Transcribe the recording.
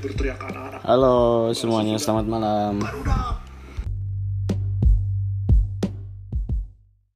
berteriak anak-anak. Halo semuanya, selamat malam. Garuda,